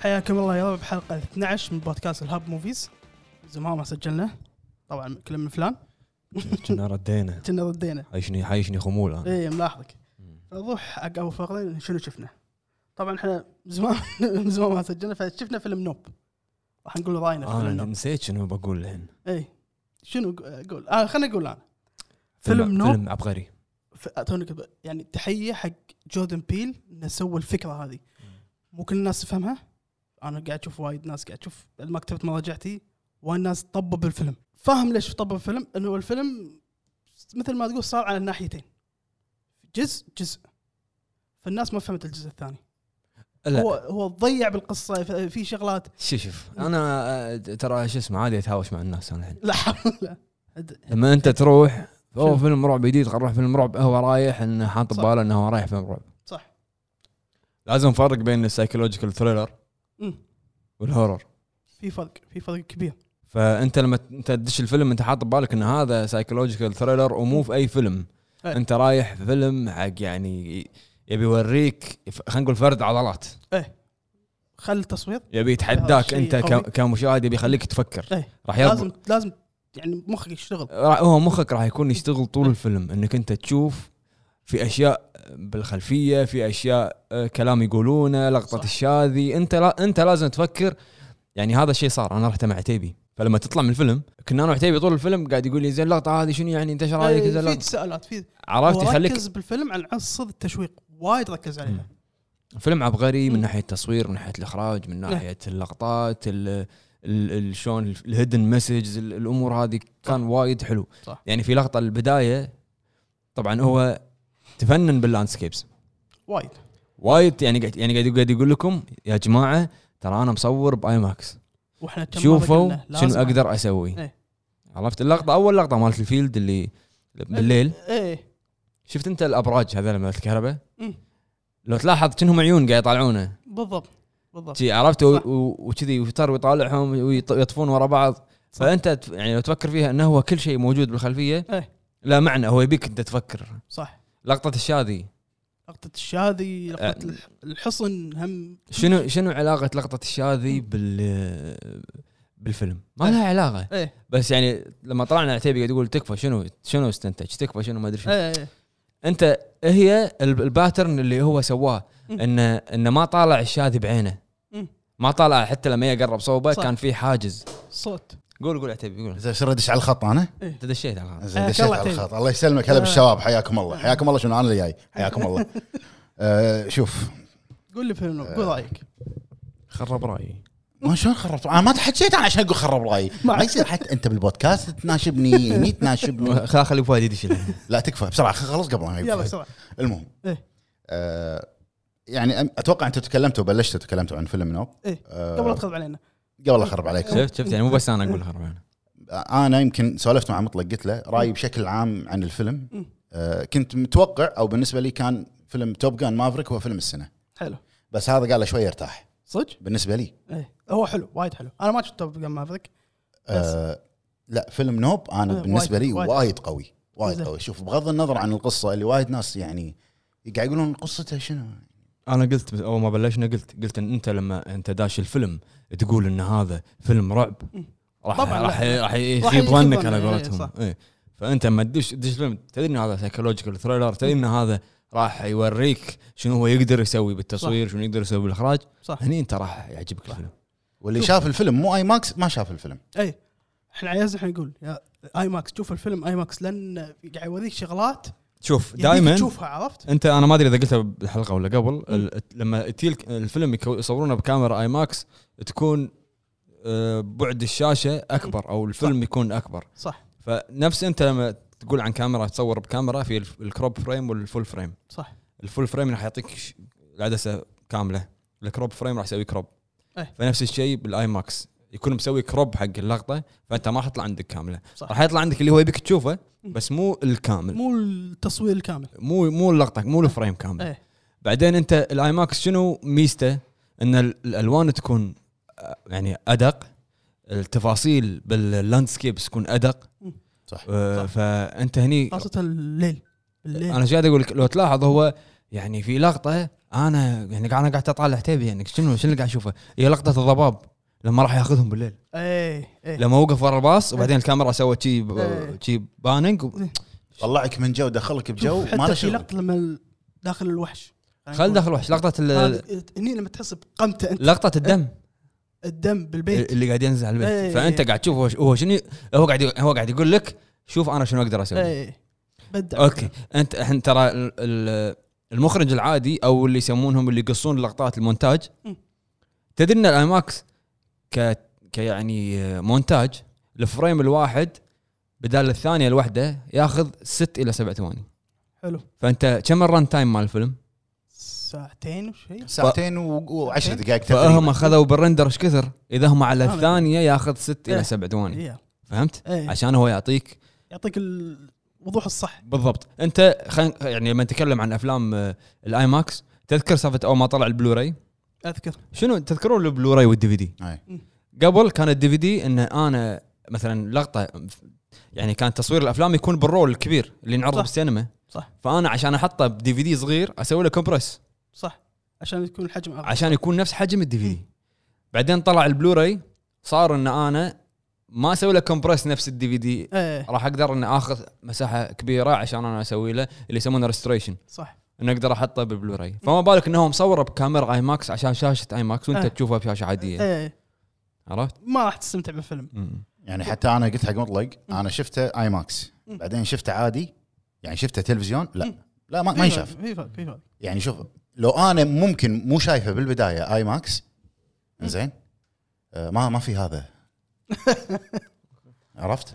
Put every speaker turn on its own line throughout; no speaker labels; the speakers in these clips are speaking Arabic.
حياكم الله يلا بحلقة 12 من بودكاست الهاب موفيز زمان ما سجلنا طبعا كلام من فلان
كنا ردينا
كنا ردينا
عايشني عايشني خمول انا
اي ملاحظك فضح حق اول فقرة شنو شفنا طبعا احنا زمان من زمان ما سجلنا فشفنا فيلم نوب راح نقول راينا في فيلم
انا
نوب
نسيت شنو بقول الحين
اي شنو ق- قول آه خليني اقول انا فيلم نوب.
فيلم عبقري
ف- توني كب- يعني تحيه حق جوردن بيل انه سوى الفكره هذه مو كل الناس تفهمها انا قاعد اشوف وايد ناس قاعد اشوف لما كتبت مراجعتي وايد ناس طبب الفيلم فاهم ليش طبب الفيلم انه الفيلم مثل ما تقول صار على الناحيتين جزء جزء فالناس ما فهمت الجزء الثاني
لا
هو هو ضيع بالقصه ف- في شغلات
شوف شوف انا آه، ترى شو اسمه عادي اتهاوش مع الناس انا الحين
لا حول ولا- أد-
لما انت تروح
شنو؟
اوه فيلم رعب جديد خل نروح فيلم رعب هو رايح انه حاط
صح.
بباله انه هو رايح فيلم رعب
صح
لازم نفرق بين السايكولوجيكال ثريلر
مم.
والهورر
في فرق في فرق كبير
فانت لما ت- انت تدش الفيلم انت حاط ببالك ان هذا سايكولوجيكال ثريلر ومو في اي فيلم
إيه.
انت رايح في فيلم حق يعني يبي يوريك خلينا نقول فرد عضلات
خل التصوير
يبي يتحداك
شيء
انت
قوي.
ك- كمشاهد يبي يخليك تفكر
إيه.
راح
لازم
يربط
لازم يعني مخك يشتغل
راح- هو مخك راح يكون يشتغل طول الفيلم انك انت تشوف في اشياء بالخلفيه في اشياء آه، كلام يقولونه لقطه
صح.
الشاذي انت لا انت لازم تفكر يعني هذا الشيء صار انا رحت مع عتيبي فلما تطلع من الفيلم كنا انا وعتيبي طول الفيلم قاعد يقول لي زين اللقطه هذه شنو يعني انت ايش رايك
إيه،
زين
في
اللقطة-
تساؤلات في
عرفت
هو
يخليك
ركز بالفيلم على عنصر التشويق وايد ركز عليه
فيلم عبقري
مم.
من ناحيه التصوير من ناحيه الاخراج من
نعم.
ناحيه اللقطات ال ال- ال- شلون الهيدن مسج الامور هذه كان وايد حلو
صح.
يعني في لقطه البدايه طبعا هو تفنن باللاندسكيبس
وايد
وايد يعني قاعد يعني قاعد قاعد يقول لكم يا جماعه ترى انا مصور باي ماكس
واحنا كم مرة
شوفوا
قلنا لازم-
شنو اقدر اسوي
إيه.
عرفت اللقطه اول لقطه مالت الفيلد اللي بالليل
ايه
شفت انت الابراج هذول مالت الكهرباء
مم.
لو تلاحظ كأنهم عيون قاعد يطالعونه
بالضبط بالضبط
شي عرفت
صح.
و- و- وكذي وتر ويطالعهم ويط- ويطفون ورا بعض فانت تف- يعني لو تفكر فيها انه هو كل شيء موجود بالخلفيه
إيه.
لا معنى هو يبيك انت تفكر
صح
لقطه الشاذي
لقطة الشاذي لقطة
أه.
الح- الحصن هم
شنو شنو علاقه لقطه الشاذي بال بالفيلم ما لها علاقه
ايه
بس يعني لما طلعنا عتيبي قاعد يقول تكفى شنو شنو استنتج تكفى شنو ما ادري شنو
ايه إيه.
انت هي ال- الباترن اللي هو سواه
مم.
انه انه ما طالع الشاذي بعينه
مم.
ما طالع حتى لما يقرب صوبه
إيه. صح.
كان في حاجز
صوت
قول قول عتيبي قول
زين شو ادش على الخط انا؟
انت دشيت على هذا
زين
حياك
دشيت
الله
على
عتيبي.
الخط الله يسلمك
آه.
هلا بالشباب حياكم الله حياكم الله شنو انا اللي جاي حياكم الله آه، شوف
قول لي فيلم قول رايك
خرب رايي
ما شلون خربت انا ما تحكيت انا عشان اقول خرب رايي ما يصير حتى انت بالبودكاست تناشبني هني تناشبني
خل خلي فؤاد يدش
لا تكفى بسرعه خلص قبل ما
يلا
يبدأ.
بسرعه
المهم
إيه.
آه، يعني أم- اتوقع انتم تكلمتوا بلشتوا تكلمتوا عن فيلم نوب
إيه.
آه،
قبل لا تخرب علينا
قبل اخرب عليك
شفت شفت يعني مو بس انا اقول خرب يعني.
انا يمكن سولفت مع مطلق قلت له رايي بشكل عام عن
مم.
الفيلم آه، كنت متوقع او بالنسبه لي كان فيلم توب جان مافريك هو فيلم السنه
حلو
بس هذا قال له شوي ارتاح
صدق؟
بالنسبه لي
ايه هو حلو وايد حلو انا ما شفته توب جان مافريك
آه لا فيلم نوب انا
آه،
بالنسبه
وايد-
لي
وايد.
وايد قوي وايد
زين.
قوي شوف بغض النظر عن القصه اللي وايد ناس يعني قاعد يقولون قصتها شنو
انا قلت بس اول ما بلشنا قلت قلت ان انت لما انت داش الفيلم تقول ان هذا فيلم رعب
مم.
راح
طبعاً
راح
لا.
راح
راح
يخيب
يجيب
ظنك
ظني،
على
إيه،
قولتهم
صح.
إيه. فانت لما تدش تدش الفيلم تدري ان هذا سايكولوجيكال ثريلر تدري ان هذا راح يوريك شنو هو يقدر يسوي بالتصوير شنو يقدر يسوي بالاخراج
صح
هني انت راح يعجبك الفيلم
واللي
شوف.
شاف الفيلم مو اي ماكس ما شاف الفيلم
ايه احنا عيازنا احنا نقول يا اي ماكس شوف الفيلم اي ماكس لان قاعد يوريك شغلات
شوف
يبيك
دائما
تشوفها عرفت؟
انت انا ما ادري اذا قلتها بالحلقه ولا قبل ال- لما تيلك الفيلم يكو- يصورونه بكاميرا اي ماكس تكون آه، بعد الشاشه اكبر او الفيلم يكون اكبر
صح
فنفس انت لما تقول عن كاميرا تصور بكاميرا في الف- الكروب فريم والفول فريم
صح
الفول فريم راح يعطيك ش- العدسه كامله الكروب فريم راح يسوي كروب
ايه.
فنفس الشيء بالاي ماكس يكون مسوي كروب حق اللقطه فانت ما راح تطلع عندك كامله
صح.
راح يطلع عندك اللي هو يبيك تشوفه بس مو الكامل
مو التصوير الكامل
مو مو اللقطه مو الفريم كامل
ايه
بعدين انت الاي ماكس شنو ميزته؟ ان ال- الالوان تكون آه، يعني ادق التفاصيل باللاندسكيبس تكون ادق
صح
آه، فانت هني
خاصه الليل بالليل
انا شو قاعد اقول لك لو تلاحظ هو يعني في لقطه انا يعني قاعد- انا قاعد اطالع عتيبي يعني شنو شنو اللي قاعد اشوفه؟ هي لقطه الضباب لما راح ياخذهم بالليل
اي اي
لما وقف ورا الباص وبعدين الكاميرا سوت شي
إيه.
ب- شي باننج و-
طلعك من جو دخلك بجو
شوف،
ما له
حتى في
شغل
لقطه لما ال- داخل الوحش
خل دخل وحش لقطه ال-
هذا- هني لما تحس بقمته انت
لقطه الدم
الدم بالبيت
اللي قاعد ينزل على
إيه.
البيت فانت قاعد تشوف هو ش- هو شنو هو قاعد ي- هو قاعد يقول لك شوف انا شنو اقدر اسوي
اي بدع
اوكي انت الحين ترى ال- ال- المخرج العادي او اللي يسمونهم اللي يقصون اللقطات المونتاج
مم.
تدري ان الايماكس ك كيعني مونتاج الفريم الواحد بدال الثانيه الواحده ياخذ ست الى سبع ثواني
حلو
فانت كم الران تايم مال الفيلم؟
ساعتين وشيء
ساعتين و- وعشر دقائق
فهم
تقريبا
اخذوا بالرندر ايش كثر؟ اذا هم على
آه.
الثانيه ياخذ ست
إيه.
الى سبع ثواني
إيه.
فهمت؟
إيه.
عشان هو يعطيك
يعطيك الوضوح الصح
بالضبط انت خل... يعني لما نتكلم عن افلام آه، الاي ماكس تذكر سالفه اول ما طلع البلوراي
اذكر
شنو تذكرون البلوراي والدي في دي
أي.
قبل كان الدي في دي ان انا مثلا لقطه يعني كان تصوير الافلام يكون بالرول الكبير اللي ينعرض
صح.
بالسينما
صح.
فانا عشان احطه بدي في دي صغير اسوي له كومبرس
صح عشان يكون الحجم اكبر
عشان يكون نفس حجم الدي في
مم.
دي بعدين طلع البلوراي صار ان انا ما اسوي له كومبرس نفس الدي في دي
ايه
راح اقدر ان اخذ مساحه كبيره عشان انا اسوي له اللي يسمونه ريستوريشن
صح
انه اقدر احطه بالبلوراي فما بالك انه هو مصوره بكاميرا اي ماكس عشان شاشه اي ماكس وانت
آه.
تشوفها بشاشه عاديه
ايه
عرفت؟
ما راح تستمتع بالفيلم
مم.
يعني حتى انا قلت حق مطلق انا شفته اي ماكس بعدين شفته عادي يعني شفته تلفزيون لا لا ما, ما
في
ينشاف
فرق، في فرق في فرق
يعني شوف لو انا ممكن مو شايفه بالبدايه اي ماكس زين آه ما ما في هذا عرفت؟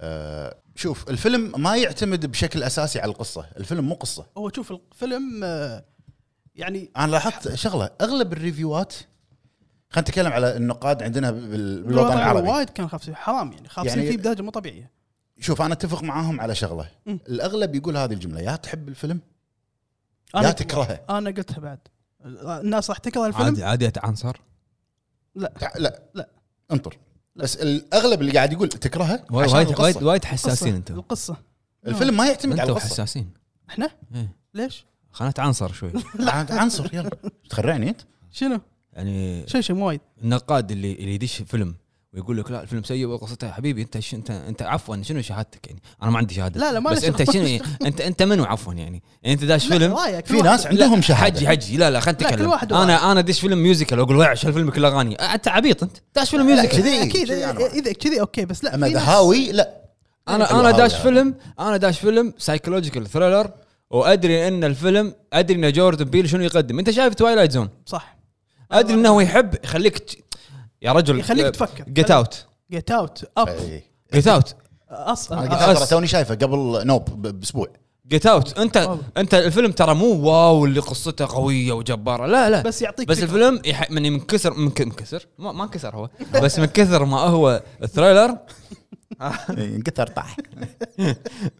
آه شوف الفيلم ما يعتمد بشكل اساسي على القصه، الفيلم مو قصه،
هو شوف الفيلم آه، يعني
انا لاحظت شغله اغلب الريفيوات خلينا نتكلم على النقاد عندنا بال- بالوطن
الوضع
العربي
وايد كان خاف حرام يعني خافين
يعني-
فيه بدرجه مو طبيعيه
شوف انا اتفق معاهم على شغله
م.
الاغلب يقول هذه الجمله يا تحب الفيلم يا
انا
تكرهه
انا قلتها بعد الناس راح تكره الفيلم
عادي عادي اتعنصر
تع- لا
لا.
انطر
لا.
بس الاغلب اللي قاعد يقول تكرهه
وايد
عشان
وايد
القصة.
وايد, وايد
القصة-
حساسين انتم
القصه
الفيلم ما يعتمد على
انتم
القصه
حساسين
احنا
إيه.
ليش؟
خلنا نتعنصر شوي
عاد عنصر يلا تخرعني انت
شنو؟
يعني
شيء شيء مو وايد
النقاد اللي اللي يدش فيلم ويقول لك لا الفيلم سيء وقصته يا حبيبي انت ش... انت انت عفوا شنو شهادتك يعني انا ما عندي شهاده
لا، لا، ما
بس
لي
انت
شغل.
شنو انت انت منو عفوا يعني يعني انت داش
لا،
فيلم
رايك
في ناس عندهم شهاده
حجي حجي لا لا خلينا
لا، كل
نتكلم
واحد
انا انا دش فيلم ميوزيكال واقول ويعش هالفيلم كله اغاني انت عبيط انت داش فيلم
لا،
ميوزيكال
كذي
اكيد
كذي أنا.
اذا كذي اوكي بس لا
اما
في ناس-
دهاوي لا
انا انا داش فيلم انا داش فيلم سايكولوجيكال ثريلر وادري ان الفيلم ادري ان جوردن بيل شنو يقدم انت شايف توايلايت زون
صح
ادري انه هو يحب يخليك ت- يا رجل آه،
يخليك تفكر.
جيت اوت
جيت اوت اب
إي.
جيت اوت
انا
اصلا
قلت لها
أس-
ترى إيه. توني شايفه قبل نوب ب- باسبوع
جيت اوت انت
والله.
انت الفيلم ترى مو واو اللي قصته قويه وجباره لا لا
بس يعطيك
بس
فكرة.
الفيلم يح... من من كثر من ك- من كثر ما, ما انكسر هو بس من كثر ما هو ثريلر
انقطع إيه، طاح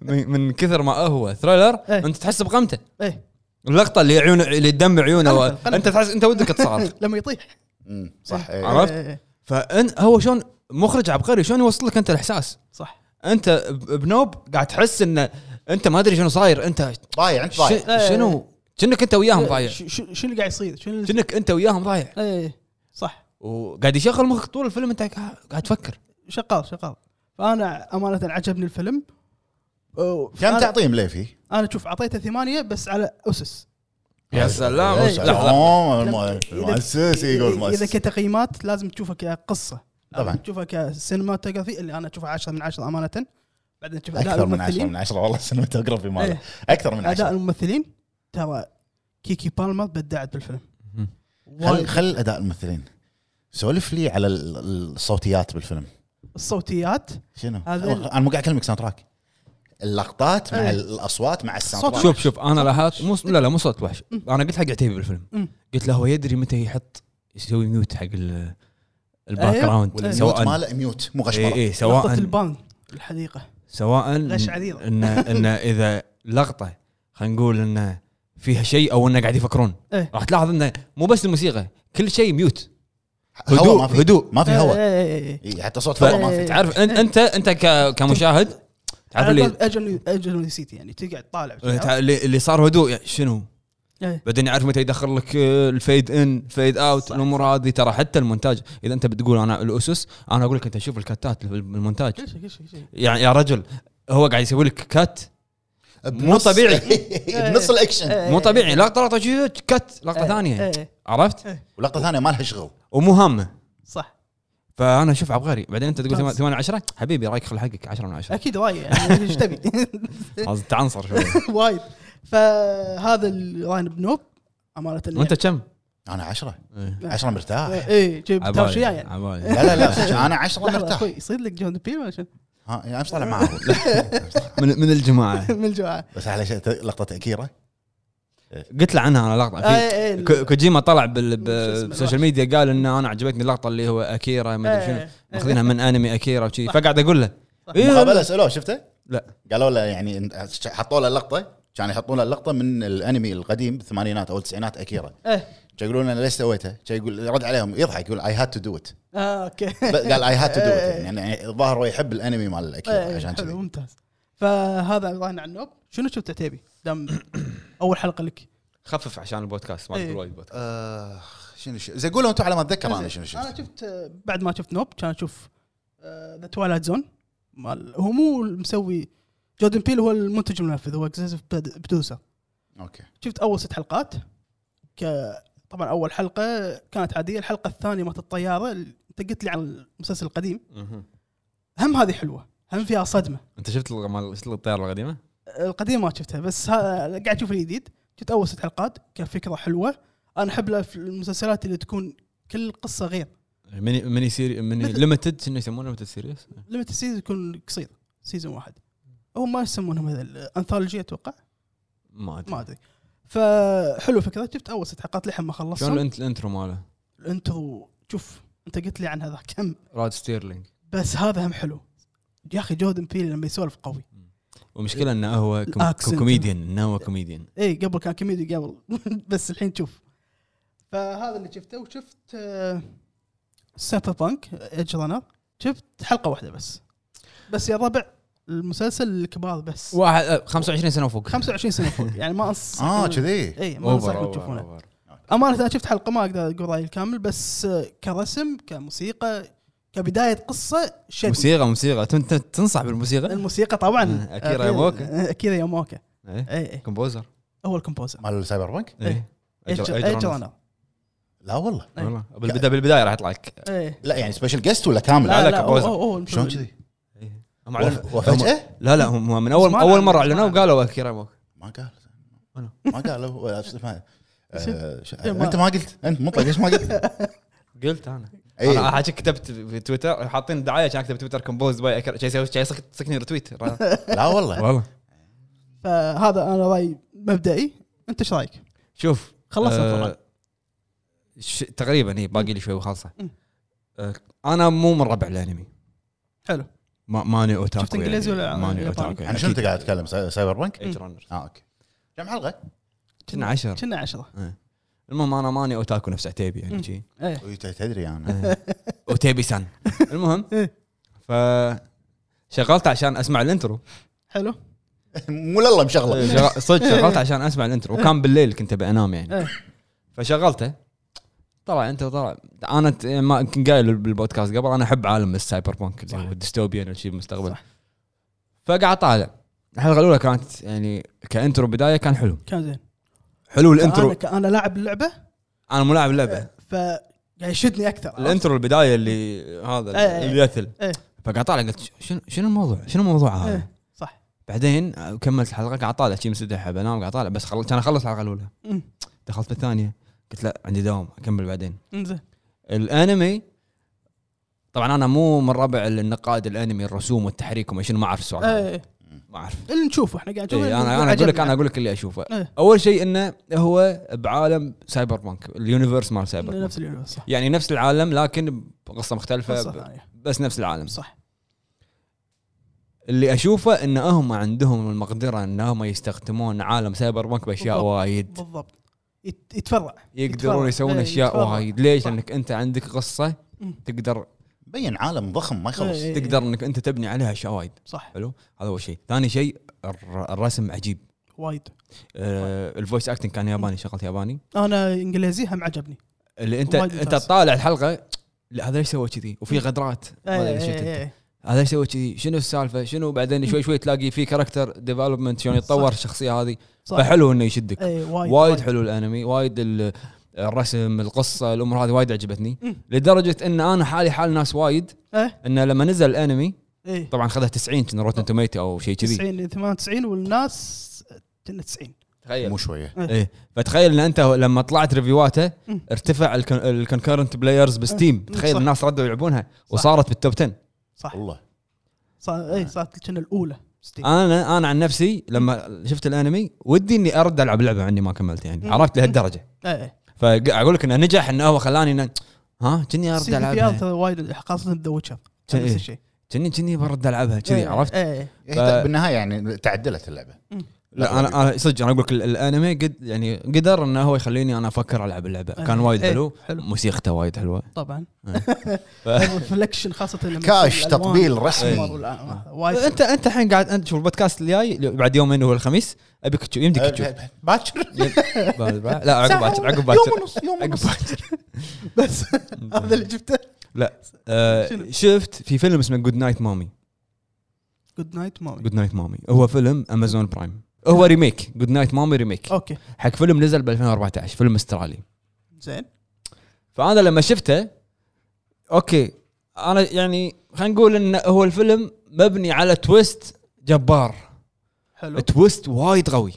من من كثر ما هو ثريلر
إيه.
انت تحس بقمته
ايه
اللقطه اللي عيون اللي الدم عيونه
قلبة- قلبة.
انت تحس انت ودك تصارخ
لما يطيح
أمم، صح إي.
عرفت؟
إيه، إيه،
فان هو شلون مخرج عبقري شلون يوصل لك انت الاحساس
صح
انت ب- بنوب قاعد تحس انه انت ما ادري شنو صاير انت
ضايع انت ضايع
ش- شنو كأنك انت وياهم ضايع
ش- ش- شنو اللي قاعد يصير؟ شنو اللي-
كأنك انت وياهم ضايع
ايه صح
وقاعد يشغل مخك طول الفيلم انت قاعد تفكر
شغال شغال فانا امانه عجبني الفيلم أو-
كم
أنا-
تعطيهم ليفي؟
انا شوف اعطيته ثمانية بس على اسس
يا سلام.
يا
لحظة.
سلام.
لما-
أيوة،
إذا-
المؤسس يقول
اذا
المؤسس
كتقييمات لازم تشوفها كقصه
إيه، طبعاً.
لازم تشوفها كسينماتوجرافي اللي انا اشوفها 10 من 10 امانه بعدين تشوف اداء
اكثر من 10
الممثلين
من 10 والله السينماتوجرافي
إيه.
ماله اكثر من
اداء
10
الممثلين ترى كيكي بالمر بدعت بالفيلم
مهم.
خل
وايد
خل اداء الممثلين سولف لي على ال- ال- الصوتيات بالفيلم
الصوتيات
شنو؟
هذا ال-
انا مو قاعد اكلمك ساوند تراك اللقطات مع
إيه.
الاصوات مع الساوند
صوت
تراك
شوف شوف انا لاحظت مو لا لا مو صوت وحش انا قلت حق عتيبي بالفيلم
مم.
قلت له هو يدري متى يحط يسوي ميوت حق ال- الباك
أيوة.
جراوند
والميوت
سواء
والميوت
إيه،
ماله ميوت مو
اي
غشمره
اي
لقطه
سواء
البان الحديقه
سواء
غش عريضة.
ان ان اذا لقطه خلينا نقول انه فيها شيء او انه قاعد يفكرون
إيه.
راح تلاحظ انه مو بس الموسيقى كل شيء ميوت
هواء
هدوء-
ما في
هدوء.
ما في
إيه،
هواء
إيه، إيه، إيه.
إيه، حتى صوت
ف-
هواء ما في
تعرف انت انت انت ك- كمشاهد تعرف
على
اللي إيه،
طول اجل اجل نسيت يعني تقعد طالع
اللي اللي صار هدوء يعني شنو
إيه.
بعدين يعرف متى يدخل لك آه، الفيد ان فيد اوت
صح.
الامور هذه ترى حتى المونتاج اذا انت بتقول انا الاسس انا اقول لك انت شوف الكاتات بالمونتاج
كل شيء كل شيء كل شيء
يعني يا رجل هو قاعد يسوي لك كات
بنص- إيه،
مو طبيعي.
إيه.
بنص الاكشن
مو طبيعي لقطه لقطه شي- كات لقطه ثانيه
ايه
عرفت
ولقطه ثانيه ما لها شغل
ومو هامه
صح
فانا اشوف عبقري بعدين انت تقول
ممتاز.
8 10 حبيبي رايك خل حقك 10 من 10
اكيد وايد يعني ايش تبي
خلاص تعنصر شوي
وايد فهذا الراين بنوب امانه يعني.
وانت كم؟
انا عشرة
إيه.
عشرة مرتاح
ايه جيب
عبالي-
تاوشيا يعني
عبالي.
لا لا لا صدق، انا عشرة
لحظه
مرتاح
اخوي يصيد لك جون بيل ولا شنو؟
ها يعني مش طالع معاه
من من الجماعه
من الجوعه
بس على شيء لقطه اكيرا
قلت له عنها انا لقطه في
إيه، إيه،
كو- كوجيما طلع بال- ب-
شو اسمه،
بالسوشيال ميديا قال ان انا عجبتني اللقطه اللي هو اكيرا ما ادري شنو
إيه.
ماخذينها من انمي اكيرا وشي
صح.
فقاعد اقول له
صح.
إيه،
مقابله سالوه شفته؟
لا.
قالوا له يعني إن- حطوا له لقطه كانوا يحطون له لقطه من الانمي القديم بالثمانينات او التسعينات اكيرا
إيه.
كانوا يقولون انا ليش سويتها؟ كان يقول رد عليهم يضحك يقول اي هاد تو دو ات
اه اوكي
قال اي هاد تو دو
إيه.
ات يعني الظاهر هو يحب الانمي مال اكيرا
إيه،
عشان
حلو
كذي
ممتاز فهذا راين عن النوب شنو شفت عتيبي؟ دام اول حلقه لك
خفف عشان البودكاست ما
إيه.
تقول وايد بودكاست
اخ آه، شنو شنو إيه، زين قولوا انتم على ما اتذكر انا شنو شفت
انا شفت آه، بعد ما شفت نوب كان آه، اشوف ذا توايلايت زون مال هو مو مسوي جودن بيل هو المنتج المنفذ هو اكزيسيف برودوسر
اوكي
شفت اول ست حلقات ك طبعا اول حلقه كانت عاديه الحلقه الثانيه مالت الطياره اللي انت قلت لي عن المسلسل القديم
مهم.
هم هذه حلوه هم فيها صدمه
انت شفت الغ- مال- شفت الطياره القديمه؟
القديم ما شفتها بس ها قاعد اشوف الجديد شفت اول ست حلقات كفكره حلوه انا احب الأف- المسلسلات اللي تكون كل قصه غير
ميني ميني سيري ميني
مثل-
ليمتد شنو يسمونه ليمتد سيريس
ليمت السيزون يكون قصير سيزون واحد او ما يسمونهم هذا انثولوجي اتوقع
ما ادري
ما ادري فحلو فكره شفت اول ست حلقات لحين ما
شلون
خلصت
الانت- الانترو ماله؟
الانترو شوف انت قلت لي عن هذا كم
راد ستيرلينج
بس هذا هم حلو يا اخي جودن بيل لما يسولف قوي
ومشكلة انه هو كوم-
الأكسنت.
كوميديان انه هو كوميديان
اي إيه، قبل كان كوميدي قبل بس الحين شوف فهذا اللي شفته وشفت سايبر بانك ايج رانر شفت حلقه واحده بس بس يا ربع المسلسل الكبار بس
واحد آه، 25 سنة وفوق
25 سنه فوق يعني ما انصح
اه
آه،
كذي
اي ما
اوفر
انصحكم
أوفر،
تشوفونه
أوفر.
امانه انا شفت حلقه ما اقدر اقول رايي الكامل بس آه، كرسم كموسيقى كبدايه قصه شد
موسيقى موسيقى أنت- انت تنصح بالموسيقى؟
الموسيقى طبعا
آه، أكيرا ياماوكا.
آه، اكيرا ياماوكا
إيه.
اي اي
كومبوزر
هو الكومبوزر
مال سايبر بانك؟
إيه.
ايه أجر-
ايج
أجرانوف.
رانر
لا والله
إيه.
والله بالبدايه بالبدايه راح يطلع لك
ايه
لا يعني سبيشل جيست ولا كامل؟
لا لا
كومبوزر.
هو- هو- هو
شلون كذي؟
هم
وف-
أعلنوا- هم-
وفجأة؟
لا لا هم هم من اول
ما
اول
أعلنوا،
مره
ما
اعلنوا
أعلنوا.
وقالوا اكيرا ياماوكا
ما قال
أنا.
ما قال هو اسمه آه، ش-
إيه، ما-
انت ما قلت انت مطلق ليش ما قلت؟
قلت انا
إيه.
انا حاجة كتبت في تويتر حاطين دعايه كان اكتب تويتر كومبوز باي اكيرا شي يسوي شي يسك- سكني رتويت
لا والله
والله
فهذا انا رايي مبدئي انت ايش رايك؟
شوف
خلصنا
آه،
طبعاً.
ش- تقريبا هي باقي لي شوي وخلصه
مم.
آه، انا مو من ربع الانمي
حلو
ما ماني اوتاكو
شفت إنجليزي
يعني.
ولا
ماني
ياباني؟ إيه.
اوتاكو
عن شنو انت قاعد تتكلم ساي- سايبر بانك؟
ايج رانر
اه اوكي كم حلقه؟
كنا عشر
كنا عشرة
المهم انا ماني اوتاكو نفس عتيبي
مم.
يعني شي
ايه
أوي، ت- تدري انا
إيه. اوتيبي سان المهم
إيه.
ف شغلت عشان اسمع الانترو
حلو
مو لله مشغله
شغ- صدق شغلت عشان اسمع الانترو وكان بالليل كنت بانام يعني
إيه.
فشغلته طلع انت طلع انا ت- يعني ما كنت قايل بالبودكاست قبل انا احب عالم السايبر بانك اللي هو الديستوبيان والشيء المستقبل
صح.
فقعد طالع الحلقه الاولى كانت يعني كانترو بدايه كان حلو
كان زين
حلو
الانترو
الانترو
انا لاعب اللعبه
انا مو لاعب لعبه
فقاعد يشدني اكثر
الانترو البدايه اللي هذا
إيه.
اللي يثل
إيه.
فقعد طالع قلت شنو شنو الموضوع؟ شنو الموضوع هذا؟
إيه، صح
بعدين كملت الحلقه قاعد طالع شي مسدح بنام قاعد طالع بس خل... كان اخلص الحلقه الاولى
أمم،
دخلت بالثانيه قلت لا عندي دوام اكمل بعدين
انزين
الانمي طبعا انا مو من ربع النقاد الانمي الرسوم والتحريك وما شنو ما اعرف السؤال هذا.
ايه
ما اعرف
اللي نشوفه احنا قاعد نشوفه
إيه انا انا اقول لك انا اقول لك اللي اشوفه
يعني. إيه.
اول شيء انه هو بعالم سايبر بانك اليونيفرس مال سايبر بانك
نفس اليونيفرس صح
يعني نفس العالم لكن بقصه مختلفه
قصة
ب-
ثانية.
بس نفس العالم
صح
اللي اشوفه ان هم عندهم المقدره ان هم يستخدمون عالم سايبر بانك باشياء
بالضبط.
وايد
بالضبط يت- يتفرع
يقدرون يسوون
إيه،
اشياء
يتفرع.
وايد ليش؟
صح.
لانك انت عندك قصه
مم.
تقدر
بين عالم ضخم ما يخلص
إيه.
تقدر انك انت تبني عليها اشياء وايد
صح
حلو هذا اول شيء ثاني شيء الر- الرسم عجيب
وايد
آه، الفويس اكتنج كان ياباني شغلت ياباني
انا انجليزي هم عجبني
اللي انت
وايد
انت
ممتاز.
طالع الحلقه لا هذا ليش سوى كذي وفي غدرات ما أدري
إيه،
إيش
إيه،
شفت أنت.
إيه.
هذا ايش سوى كذي شنو السالفه شنو بعدين شوي شوي تلاقي في كاركتر ديفلوبمنت شلون يتطور
صح.
الشخصيه هذه
صح.
فحلو انه يشدك
إيه، وايد
وايد حلو الانمي وايد ال- الرسم القصه الامور هذه وايد عجبتني
مم.
لدرجه ان انا حالي حال ناس وايد
إيه.
انه لما نزل الانمي
ايه
طبعا خذها 90 كان روتن توميتو او شيء كذي
90 98 والناس 90
تخيل
مو شويه
ايه فتخيل ان انت لما طلعت ريفيواته
مم.
ارتفع الكونكرنت بلايرز بستيم تخيل
صح.
الناس ردوا يلعبونها وصارت بالتوب 10
صح
والله
صار
آه.
اي صارت كنا الاولى ستيم
انا انا عن نفسي لما شفت الانمي ودي اني ارد العب لعبه عني ما كملت يعني عرفت لهالدرجه
ايه
فاقول لك انه نجح انه هو خلاني إنه ها كني ارد
سي بي ار
العبها
ترى وايد خاصه ذا ويتشر
إيه.
نفس الشيء
كني كني برد العبها كذي
إيه،
عرفت
ايه
إيه، بالنهايه يعني تعدلت اللعبه
لا انا انا صدق انا اقول لك ال- الانمي قد يعني قدر انه هو يخليني انا افكر العب اللعبه كان وايد
إيه،
حلو
حلو.
موسيقته وايد حلوه
طبعا
إيه. ف-
ريفلكشن خاصه لما
كاش
يكون الألوان
تطبيل رسمي.
أحمر
آه.
والأ- وايد
انت انت الحين قاعد انت شوف البودكاست الجاي بعد يومين هو الخميس ابيك تشوف يمديك تشوف
أه، باكر
لا عقب باكر عقب
يوم
باكر
ونص يوم
عقب
ونص
باكر
بس هذا اللي جبته
آه، شفت في فيلم اسمه جود نايت مامي
جود نايت مامي
جود نايت مامي هو فيلم امازون برايم هو ريميك جود نايت مامي ريميك
اوكي
حق فيلم نزل ب 2014 فيلم استرالي
زين
فانا لما شفته اوكي انا يعني خلينا نقول ان هو الفيلم مبني على تويست جبار
حلو
تويست وايد قوي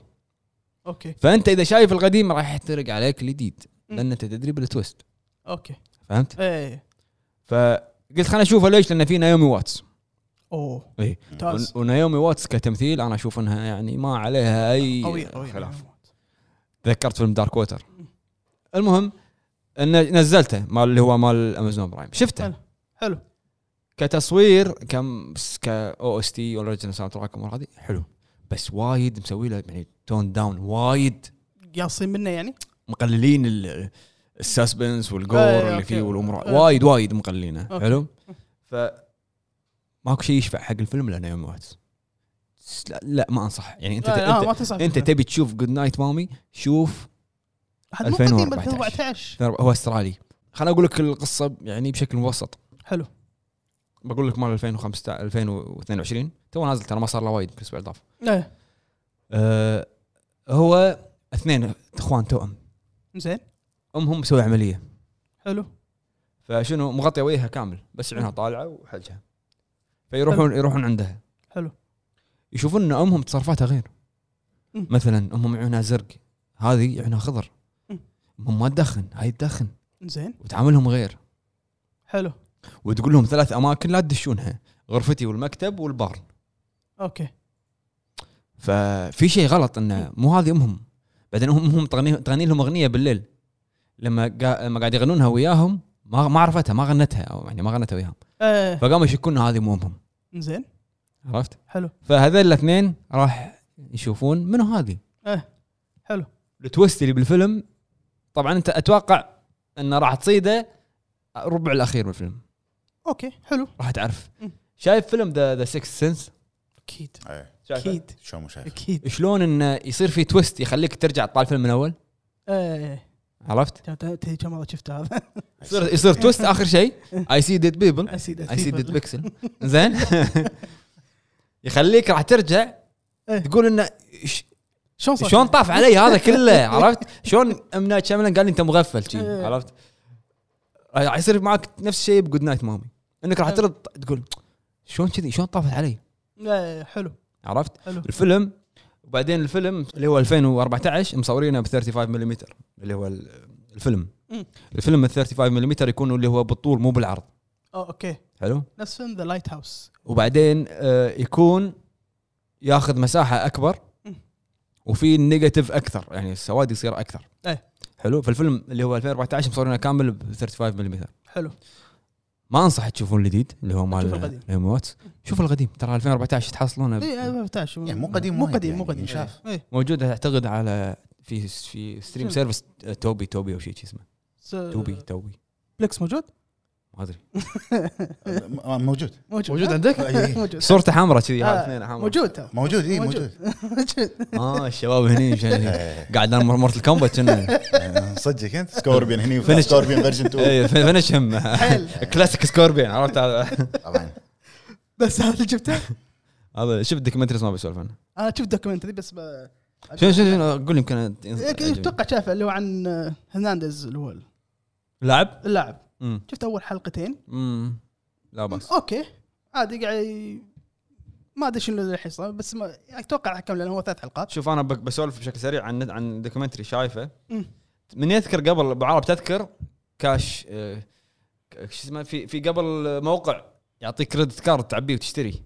اوكي
فانت اذا شايف القديم راح يحترق عليك الجديد لان انت تدري بالتويست
اوكي
فهمت
ايه
فقلت خلينا اشوفه ليش لان في نايومي واتس
اوه
اي
ممتاز
ونايومي واتس كتمثيل انا اشوف انها يعني ما عليها اي
قوي قوي
خلاف تذكرت فيلم دارك ووتر المهم ان نزلته مال اللي هو مال امازون برايم شفته
حلو. حلو
كتصوير كم كا او اس تي اوريجنال ساوند تراك والأمور هذه حلو بس وايد مسوي له يعني تون داون وايد
قاصين منه يعني
مقللين ال- السسبنس والجور
إيه،
اللي
أوكي.
فيه والامور
إيه.
وايد وايد مقللينه
أوكي.
حلو ف ماكو شيء يشفع حق الفيلم لانه يوم واتس لا, لا ما انصح يعني انت
إيه، لا، لا،
انت,
آه، ما تنصح
انت
فيه.
تبي تشوف جود نايت مامي شوف
حد مو قديم
2014.
2014
هو استرالي خليني اقول لك القصه يعني بشكل مبسط
حلو
بقول لك مال 2015 2022 تو نازل ترى ما صار له وايد يمكن اسبوع اضاف
ايه
إيه. أه هو اثنين اخوان توأم
زين
امهم مسوي عمليه
حلو
فشنو مغطيه وجهها كامل بس عيونها طالعه وحجها فيروحون يروحون عندها
حلو
يشوفون ان امهم تصرفاتها غير
مم.
مثلا امهم عيونها زرق هذه عيونها خضر
مم.
امهم ما تدخن هاي تدخن
زين
وتعاملهم غير
حلو
وتقول لهم ثلاث اماكن لا تدشونها غرفتي والمكتب والبار
اوكي
ففي شيء غلط انه مو هذه امهم بعدين هم امهم تغني تغني لهم اغنيه بالليل لما قا... لما قاعد يغنونها وياهم ما ما عرفتها ما غنتها او يعني ما غنتها وياهم
ايه
فقاموا يشكون إن هذه مو امهم
زين
عرفت؟
حلو
فهذول الاثنين راح يشوفون منو هذه
ايه حلو
التويست اللي بالفيلم طبعا انت اتوقع انه راح تصيده الربع الاخير بالفيلم
اوكي حلو
راح تعرف
مم.
شايف فيلم ذا ذا سكس سنس
اكيد
إيه،
اكيد
شو مو شايف
اكيد
شلون انه يصير في تويست يخليك ترجع تطالع الفيلم من اول
ايه
عرفت؟
كم- تدري كم مره شفته هذا
يصير يصير تويست اخر شيء اي سي ديد بيبل
اسيد
اي سي ديد بيكسل زين يخليك راح ترجع
إيه.
تقول انه إيش-
شلون صار؟
شلون طاف علي هذا كله عرفت؟ شلون ام نايت شاملن قال لي انت مغفل شي
إيه.
عرفت؟ راح يصير معك نفس الشيء بجود نايت مامي انك راح ترد تقول شلون كذي شلون طافت علي
ايه حلو
عرفت؟
حلو
الفيلم وبعدين الفيلم اللي هو 2014 مصورينه ب 35 ملم اللي هو ال- الفيلم
مم.
الفيلم ال 35 ملم يكون اللي هو بالطول مو بالعرض
أو اوكي
حلو؟
نفس فيلم ذا لايت هاوس
وبعدين آه، يكون ياخذ مساحه اكبر
مم.
وفي النيجاتيف اكثر يعني السواد يصير اكثر
إيه.
حلو فالفيلم اللي هو 2014 مصورينه كامل ب 35 ملم
حلو إيه،
ما انصح تشوفون الجديد اللي هو
شوف القديم. إيه.
مال ريموت شوف القديم ترى 2014 تحصلونه ب-
اي 2014
يعني مو قديم
مو
وايد
قديم
يعني،
مو قديم
ينشاف.
ايه
موجوده اعتقد على في في ستريم
شنو؟
سيرفيس آه، توبي توبي او شيء اسمه
س-
توبي توبي
بلكس موجود؟
ما ادري
م- موجود
موجود
موجود
ها؟
عندك؟
إيه.
موجود
صورته حمراء كذي هذا
آه،
اثنين حمراء
موجود ترى.
موجود اي
موجود.
موجود
موجود
اه الشباب هني شن-
إيه.
قاعد انا مرت الكومبات كنا
آه، صدقك انت سكوربين هني
Finish.
سكوربين فيرجن 2
إيه، فنش هم كلاسيك سكوربين عرفت هذا
طبعا
بس هذا اللي جبته
هذا شفت دوكيومنتريز ما بسولف عنه
انا آه، شفت دوكيومنتري بس ب...
شنو شنو شنو قول يمكن
يمكن اتوقع شافه اللي هو عن آه، هرنانديز اللي هو
لاعب؟
اللاعب
أمم.
شفت اول حلقتين
أمم. لا باس
اوكي عادي قاعد ي- ما ادري شنو اللي الحين صار بس ما اتوقع حكم لانه هو ثلاث حلقات
شوف انا بك- بسولف بشكل سريع عن عن دوكيومنتري شايفه
أمم.
من يذكر قبل ابو عرب تذكر كاش آه، ك- شو اسمه في في قبل موقع يعطيك كريدت كارد تعبيه وتشتري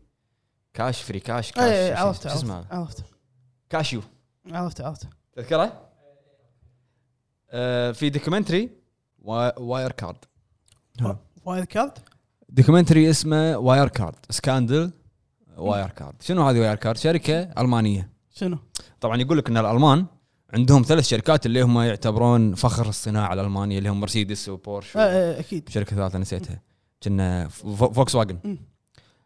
كاش فري كاش كاش
اي
شو-
إيه، عرفت
شو اسمه
عرفت
هذا؟
عرفت
كاشيو
عرفت عرفت
تذكره؟ آه، في دوكيومنتري وا- واير كارد حلو.
وايد كارد
دوكيومنتري اسمه واير كارد سكاندل واير كارد شنو هذه واير كارد شركه المانيه
شنو؟
طبعا يقول لك ان الالمان عندهم ثلاث شركات اللي هم يعتبرون فخر الصناعه الالمانيه اللي هم مرسيدس وبورش
آه، آه، اكيد
شركه ثالثه نسيتها كنا فو- فوكس واجن
مم.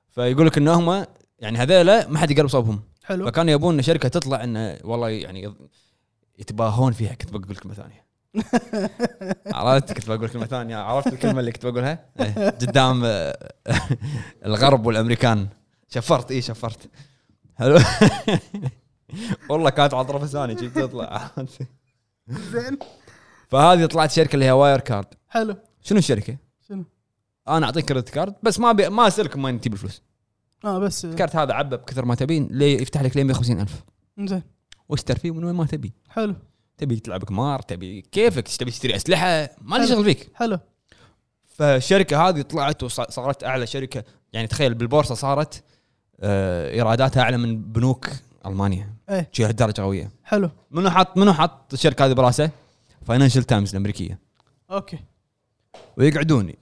فيقول لك ان هم يعني هذيلا ما حد يقرب صوبهم
حلو
فكانوا يبون إن شركه تطلع انه والله يعني يض- يتباهون فيها كنت بقول كلمه ثانيه عرفت كنت بقول كلمه ثانيه عرفت الكلمه اللي كنت بقولها إيه، قدام آه، الغرب والامريكان شفرت اي شفرت حلو والله كانت على طرف لساني كيف تطلع
زين
فهذه طلعت شركه اللي هي واير كارد
حلو
شنو الشركه؟
شنو؟
انا اعطيك كريدت كارد بس ما بي... ما اسالك من وين تجيب الفلوس
اه بس آه،
الكارت هذا عبى بكثر ما تبين ليه يفتح لك لين 150000
زين
واشتر فيه من وين ما تبي
حلو
تبي تلعب قمار تبي كيفك تبي تشتري اسلحه ما
حلو.
لي شغل فيك
حلو
فالشركه هذه طلعت وصارت اعلى شركه يعني تخيل بالبورصه صارت آه، ايراداتها اعلى من بنوك المانيا
ايه
شي هالدرجه قويه
حلو
منو حط منو حط الشركه هذه براسه؟ فاينانشال تايمز الامريكيه
اوكي
ويقعدون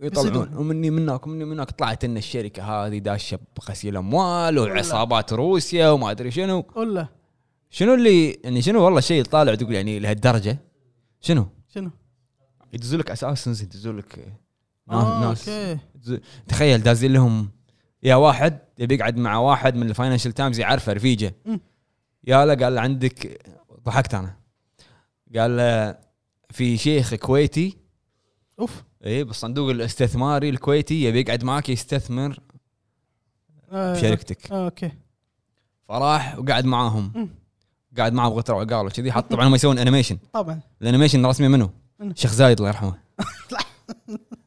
يطلعون
يصيدون.
ومني من هناك ومني من هناك طلعت ان الشركه هذه داشه بغسيل اموال وعصابات روسيا وما ادري شنو
ولا
شنو اللي يعني شنو والله شيء طالع تقول يعني لهالدرجه شنو
شنو؟
يدزوا لك اساسنز يدزوا لك ناس,
آه،
ناس
اوكي
يدزو- تخيل دازين لهم يا واحد يبي يقعد مع واحد من الفاينانشال تايمز يعرفه رفيجه
مم.
يا له قال عندك ضحكت انا قال له في شيخ كويتي
اوف
اي بالصندوق الاستثماري الكويتي يبي يقعد معاك يستثمر
آه،
بشركتك
آه، اوكي
فراح وقعد معاهم
مم.
قاعد معه بغتر وعقال وكذي حط طبعا هم يسوون انيميشن
طبعا
الانيميشن رسمي منه
منو؟
شيخ زايد الله يرحمه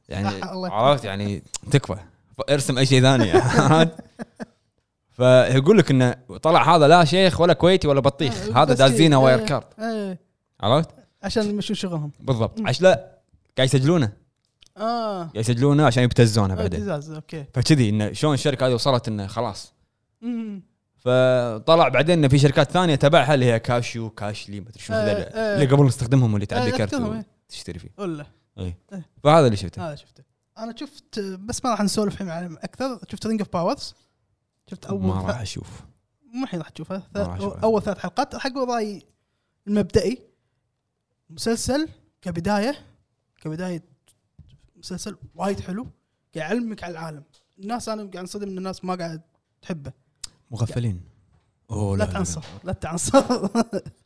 يعني
صح، الله يرحمه.
عرفت يعني تكفى ارسم اي شيء ثاني عرفت؟ فيقول لك انه طلع هذا لا شيخ ولا كويتي ولا بطيخ
آه،
هذا
بس كذي.
دازينه
إيه،
واير كارد
إيه،
عرفت
عشان يمشون شغلهم
بالضبط عش لا قاعد يسجلونه
اه
قاعد يسجلونه عشان يبتزونه
آه،
بعدين
ابتزاز اوكي
فكذي انه شلون الشركه هذه وصلت انه خلاص
مم.
فطلع بعدين انه في شركات ثانيه تبعها اللي هي كاشيو كاشلي ما ادري شو
إيه،
هذول
إيه.
اللي قبل نستخدمهم واللي تعبي
إيه، أذكرهم،
كرت
إيه. آه.
تشتري فيه إيه.
ولا
فهذا اللي شفته
هذا شفته انا شفت بس ما راح نسولف الحين عن اكثر شفت رينج اوف باورز شفت اول
ما راح
ث-
اشوف
مو الحين راح تشوفها ث-
ما راح أشوفها.
اول ثلاث حلقات حق رايي المبدئي مسلسل كبدايه كبدايه مسلسل وايد حلو قاعد يعلمك على العالم الناس انا قاعد انصدم ان الناس ما قاعد تحبه
مغفلين اوه
لا تعنصر لا تعنصر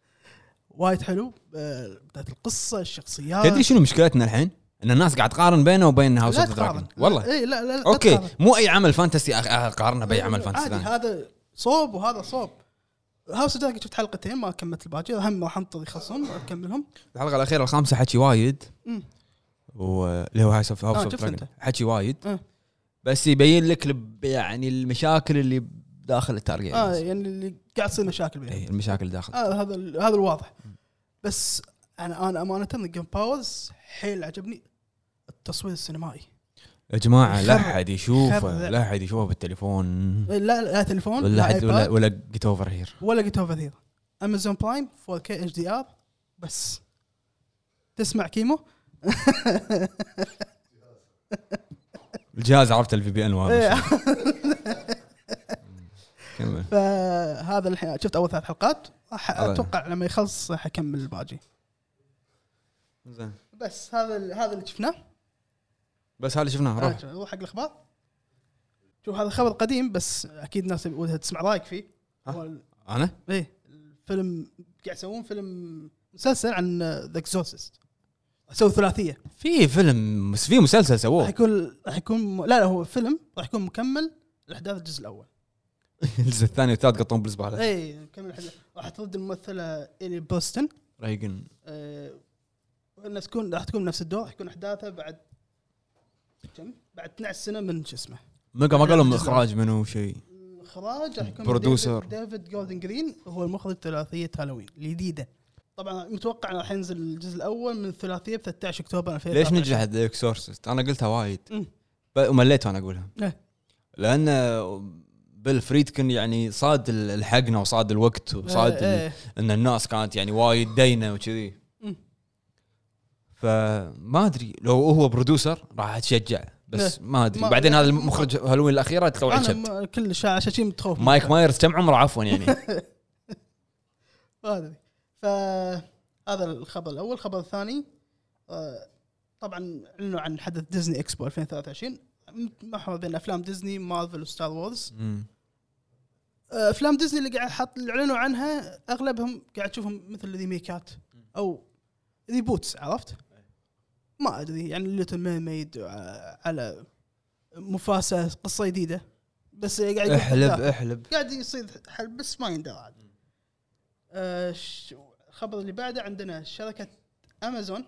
وايد حلو آه، بدايه القصه الشخصيات
تدري شنو مشكلتنا الحين؟ ان الناس قاعد تقارن بينه وبين هاوس
لا
اوف
تقارن
دراجون والله
اي لا لا لا تقارن.
اوكي مو اي عمل فانتسي أخ- اقارنه باي عمل فانتسي
عادي
ثاني
هذا صوب وهذا صوب هاوس اوف شفت حلقتين ما كملت الباقي هم راح انطر يخلصون اكملهم
الحلقه الاخيره الخامسه حكي وايد
مم.
واللي هو هاوس اوف
آه،
اوف
شفت
دراجون
أنت.
حكي وايد
آه.
بس يبين لك الب- يعني المشاكل اللي داخل التارجت
اه يعني اللي قاعد تصير مشاكل بينهم
إيه، المشاكل داخل
آه هذا ال- هذا الواضح بس انا انا امانه جيم باورز حيل عجبني التصوير السينمائي
يا جماعه لا
يخرب-
احد يشوفه
يخرب.
لا احد يشوفه بالتليفون
لا لا تليفون
ولا
لا
حد ولا
ولا
ولا جيت اوفر هير
ولا جيت اوفر ثير امازون برايم 4K اتش دي ار بس تسمع كيمو
الجهاز عرفت الفي بي ان وهذا الشيء. كمل
فهذا الحين شفت اول ثلاث حلقات أح-
أبداً.
اتوقع لما يخلص حكمل الباقي
زين
بس هذا ال- هذا اللي شفناه
بس هذا اللي شفناه روح
آه، نروح حق الاخبار شوف هذا خبر قديم بس اكيد الناس ودها تسمع رايك فيه
ها؟
هو ال-
انا
ايه الفيلم قاعد يسوون فيلم مسلسل عن ذا اكزورسيست سووا ثلاثيه
في فيلم بس في مسلسل
راح
سووه
يكون راح يكون لا لا هو فيلم راح يكون مكمل لاحداث الجزء الاول
الجزء الثاني والثالث قطون بالزباله
اي مكمل أحداث- راح ترد الممثله الي بوستن
رايقن
آه، الناس تكون راح تكون نفس الدور راح يكون احداثها بعد كم؟ بعد 12 سنه من شو اسمه
مقا ما قالوا من اخراج منو شيء
الاخراج راح يكون
برودوسر.
ديفيد- ديفيد جوردن جرين هو المخرج ثلاثيه هالوين الجديده طبعا متوقع انه راح ينزل الجزء الاول من الثلاثيه ب 13 اكتوبر 2000
ليش نجحت ذا اكسورسست؟ انا قلتها وايد
أمم.
ب- ومليت وانا اقولها
إيه.
لان بيل فريدكن يعني صاد ال- الحقنا وصاد الوقت وصاد ال- ان الناس كانت يعني وايد دينه وكذي
إيه. مم.
فما ادري لو هو برودوسر راح اتشجع بس ما ادري
إيه. ما-
بعدين هذا المخرج هالوين الاخيره تطلع
انا
عشت
ما- كل شيء عشان شيء متخوف منه.
مايك مايرز كم عمره عفوا يعني
ما ادري فهذا الخبر الاول الخبر الثاني آه، طبعا اعلنوا عن حدث ديزني اكسبو 2023 محور بين افلام ديزني مارفل وستار وورز
مم.
آه، افلام ديزني اللي قاعد حط اللي اعلنوا عنها اغلبهم قاعد تشوفهم مثل ريميكات او ريبوتس عرفت؟ ما ادري يعني ليتل ميرميد على مفاسة قصه جديده بس قاعد يقول
احلب
لا.
احلب
قاعد يصير حل بس ما يندرى عاد آه، ش- الخبر اللي بعده عندنا شركه امازون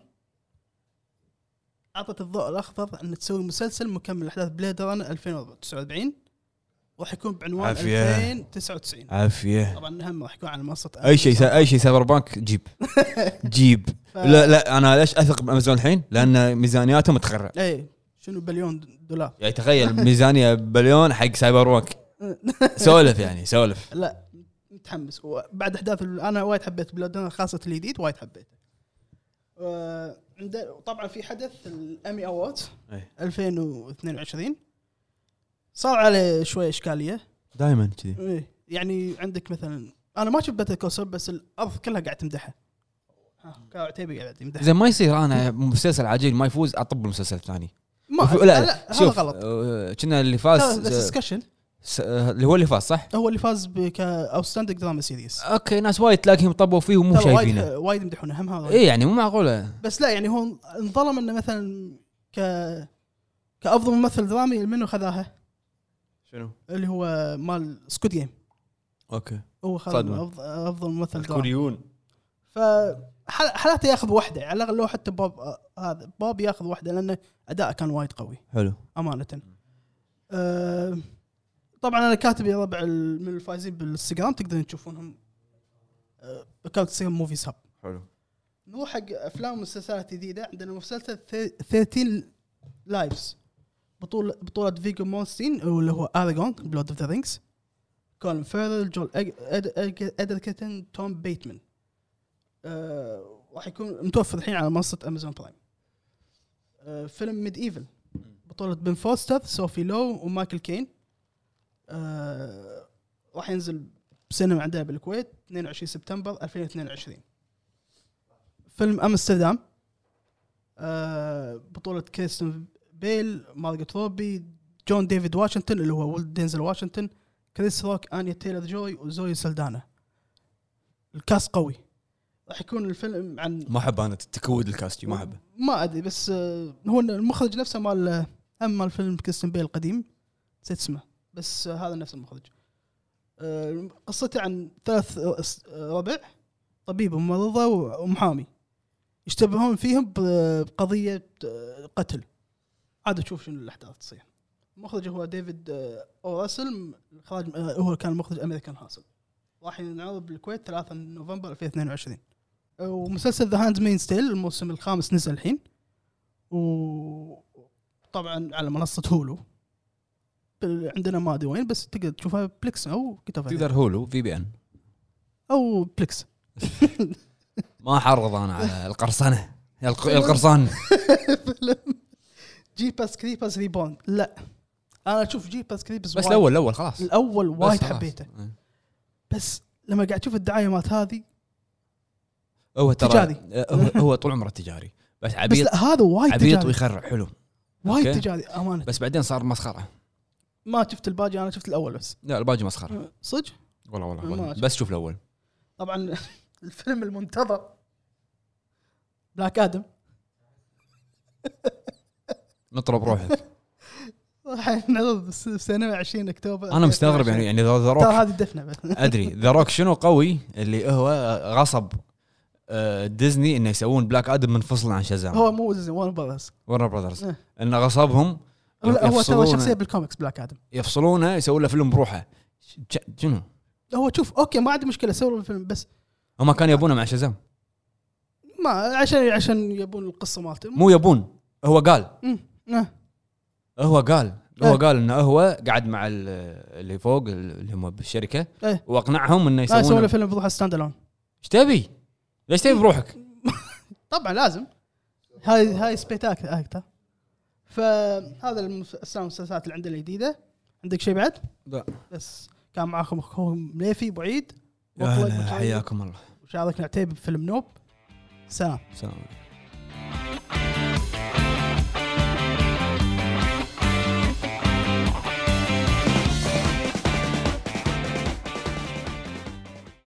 اعطت الضوء الاخضر ان تسوي مسلسل مكمل احداث بليد رانر 2049 راح يكون بعنوان
عافية.
2099
عافيه
طبعا هم راح يكون على منصه
اي شيء س- اي شيء سايبر بانك جيب جيب
ف-
لا لا انا ليش اثق بامازون الحين؟ لان ميزانياتهم تخرع
اي إيه، شنو بليون دولار
يعني تخيل ميزانيه بليون حق سايبر بانك سولف يعني سولف
لا متحمس وبعد احداث ال- انا وايد حبيت بلاد رانر خاصه الجديد وايد حبيته آه، عنده- وطبعا في حدث الامي اووردز
إيه.
2022 صار عليه شوي اشكاليه
دائما كذي
إيه، يعني عندك مثلا انا ما شفت باتل كوسر بس الارض كلها قاعد تمدحها ها، كاو عتيبي قاعد يمدحها
زين ما يصير انا مسلسل عجيب ما يفوز اطب المسلسل الثاني
ما
وفي-
لا لا هذا
شوف،
غلط
آه، كنا اللي
هذا
فاز
ديسكشن
س- آه، اللي هو اللي فاز صح؟
هو اللي فاز كاوستاندينج دراما سيريس
اوكي ناس وايد تلاقيهم طبوا فيه ومو
وايد
آه، شايفينه
وايد يمدحونه هم هذا
اي يعني مو معقوله
بس لا يعني هو انظلم انه مثلا ك كافضل ممثل درامي منو خذاها؟
شنو؟
اللي هو مال سكوت جيم
اوكي
هو خذ
صدمة.
أفضل- افضل ممثل درامي
الكوريون
ف حال- حالاته ياخذ واحده على الاقل لو حتى بوب آه، هذا بوب ياخذ واحده لانه اداءه كان وايد قوي
حلو
امانه أه طبعا انا كاتب يا ربع ال- من الفايزين بالانستغرام تقدرون تشوفونهم أه، اكونت انستغرام موفيز هاب
حلو
نروح حق افلام ومسلسلات جديده عندنا مسلسل ثي- 13 لايفز بطولة بطولة فيجو مونستين اللي هو اراجون بلود اوف ذا رينجز كولن فيرل جول ادركتن توم بيتمان آه، راح يكون متوفر الحين على منصة امازون برايم آه، فيلم ميد ايفل بطولة بن فوستر سوفي لو ومايكل كين آه، راح ينزل بسينما عندنا بالكويت 22 سبتمبر 2022 فيلم امستردام آه بطولة كريستن بيل مارغت روبي جون ديفيد واشنطن اللي هو ولد دينزل واشنطن كريس روك انيا تايلر جوي وزوي سلدانا الكاس قوي راح يكون الفيلم عن
ما احب انا التكود الكاستي ما احبه
ما ادري بس آه، هو المخرج نفسه مال هم مال فيلم كريستن بيل القديم نسيت اسمه بس آه، هذا نفس المخرج آه، قصته عن ثلاث آه، ربع طبيب وممرضة ومحامي يشتبهون فيهم ب- بقضية آه، قتل عاد تشوف شنو الأحداث تصير المخرج هو ديفيد آه، أوراسل الإخراج آه، هو كان مخرج أمريكان هاسل راح ينعرض بالكويت 3 نوفمبر 2022 آه، ومسلسل ذا هاند مين ستيل الموسم الخامس نزل الحين وطبعا على منصه هولو بال- عندنا ما ادري وين بس تقدر تشوفها بليكس او كتاب
تقدر هولو في بي ان
او بليكس
ما احرض انا على القرصنه يا الق- يا القرصان
جي باس كريباس ريبون لا انا اشوف جي باس كريباس
بس
وايد-
الاول الاول خلاص
الاول
بس
وايد
خلاص.
حبيته
إيه.
بس لما قاعد اشوف الدعايه مالت هذه
هو ترى
تجاري.
آه، هو هو طول عمره تجاري بس
بس
عبيط
لا هذا وايد
عبيط
تجاري
ويخرع حلو
وايد
أوكي.
تجاري امانه
بس بعدين صار مسخره
ما شفت الباجي انا شفت الاول بس
لا الباقي مسخره
أه، صدق
والله والله,
ما
والله.
أشوف.
بس شوف الاول
طبعا الفيلم المنتظر بلاك ادم
نطلب روحك
راح ينعرض بالس- بالسينما 20 اكتوبر
انا مستغرب يعني يعني ذا
ترى
روك
هذه الدفنه بس
ادري ذا روك شنو قوي اللي هو غصب آه، ديزني انه يسوون بلاك ادم منفصل عن شازام
هو مو ديزني ون براذرز
ورنر براذرز
إيه.
انه غصبهم
لا، هو ترى
يفصلونه-
شخصيه بالكوميكس بلاك ادم
يفصلونه يسوون له فيلم بروحه ش- ش- شنو؟
هو شوف اوكي ما عندي مشكله سووا الفيلم بس
هم كانوا يبونه مع شازام
ما عشان عشان يبون القصه مالته
مو يبون هو قال
مم. آه.
هو قال هو
إيه.
قال انه هو قاعد مع ال- اللي فوق اللي هم بالشركه
إيه.
واقنعهم انه
لا يسوون
يسوون
له فيلم بروحه ستاند الون
ايش تبي؟ ليش تبي بروحك؟
طبعا لازم هاي هاي سبيتاك اكتر فهذا المس- أسلام المسلسلات اللي عندنا الجديده عندك شيء بعد؟
لا.
بس كان معاكم اخوكم مليفي ابو عيد
يا
وأخوي
هلا،
أبو شعيب.
حياكم الله
وشاركنا عتيبي بفيلم نوب سلام
سلام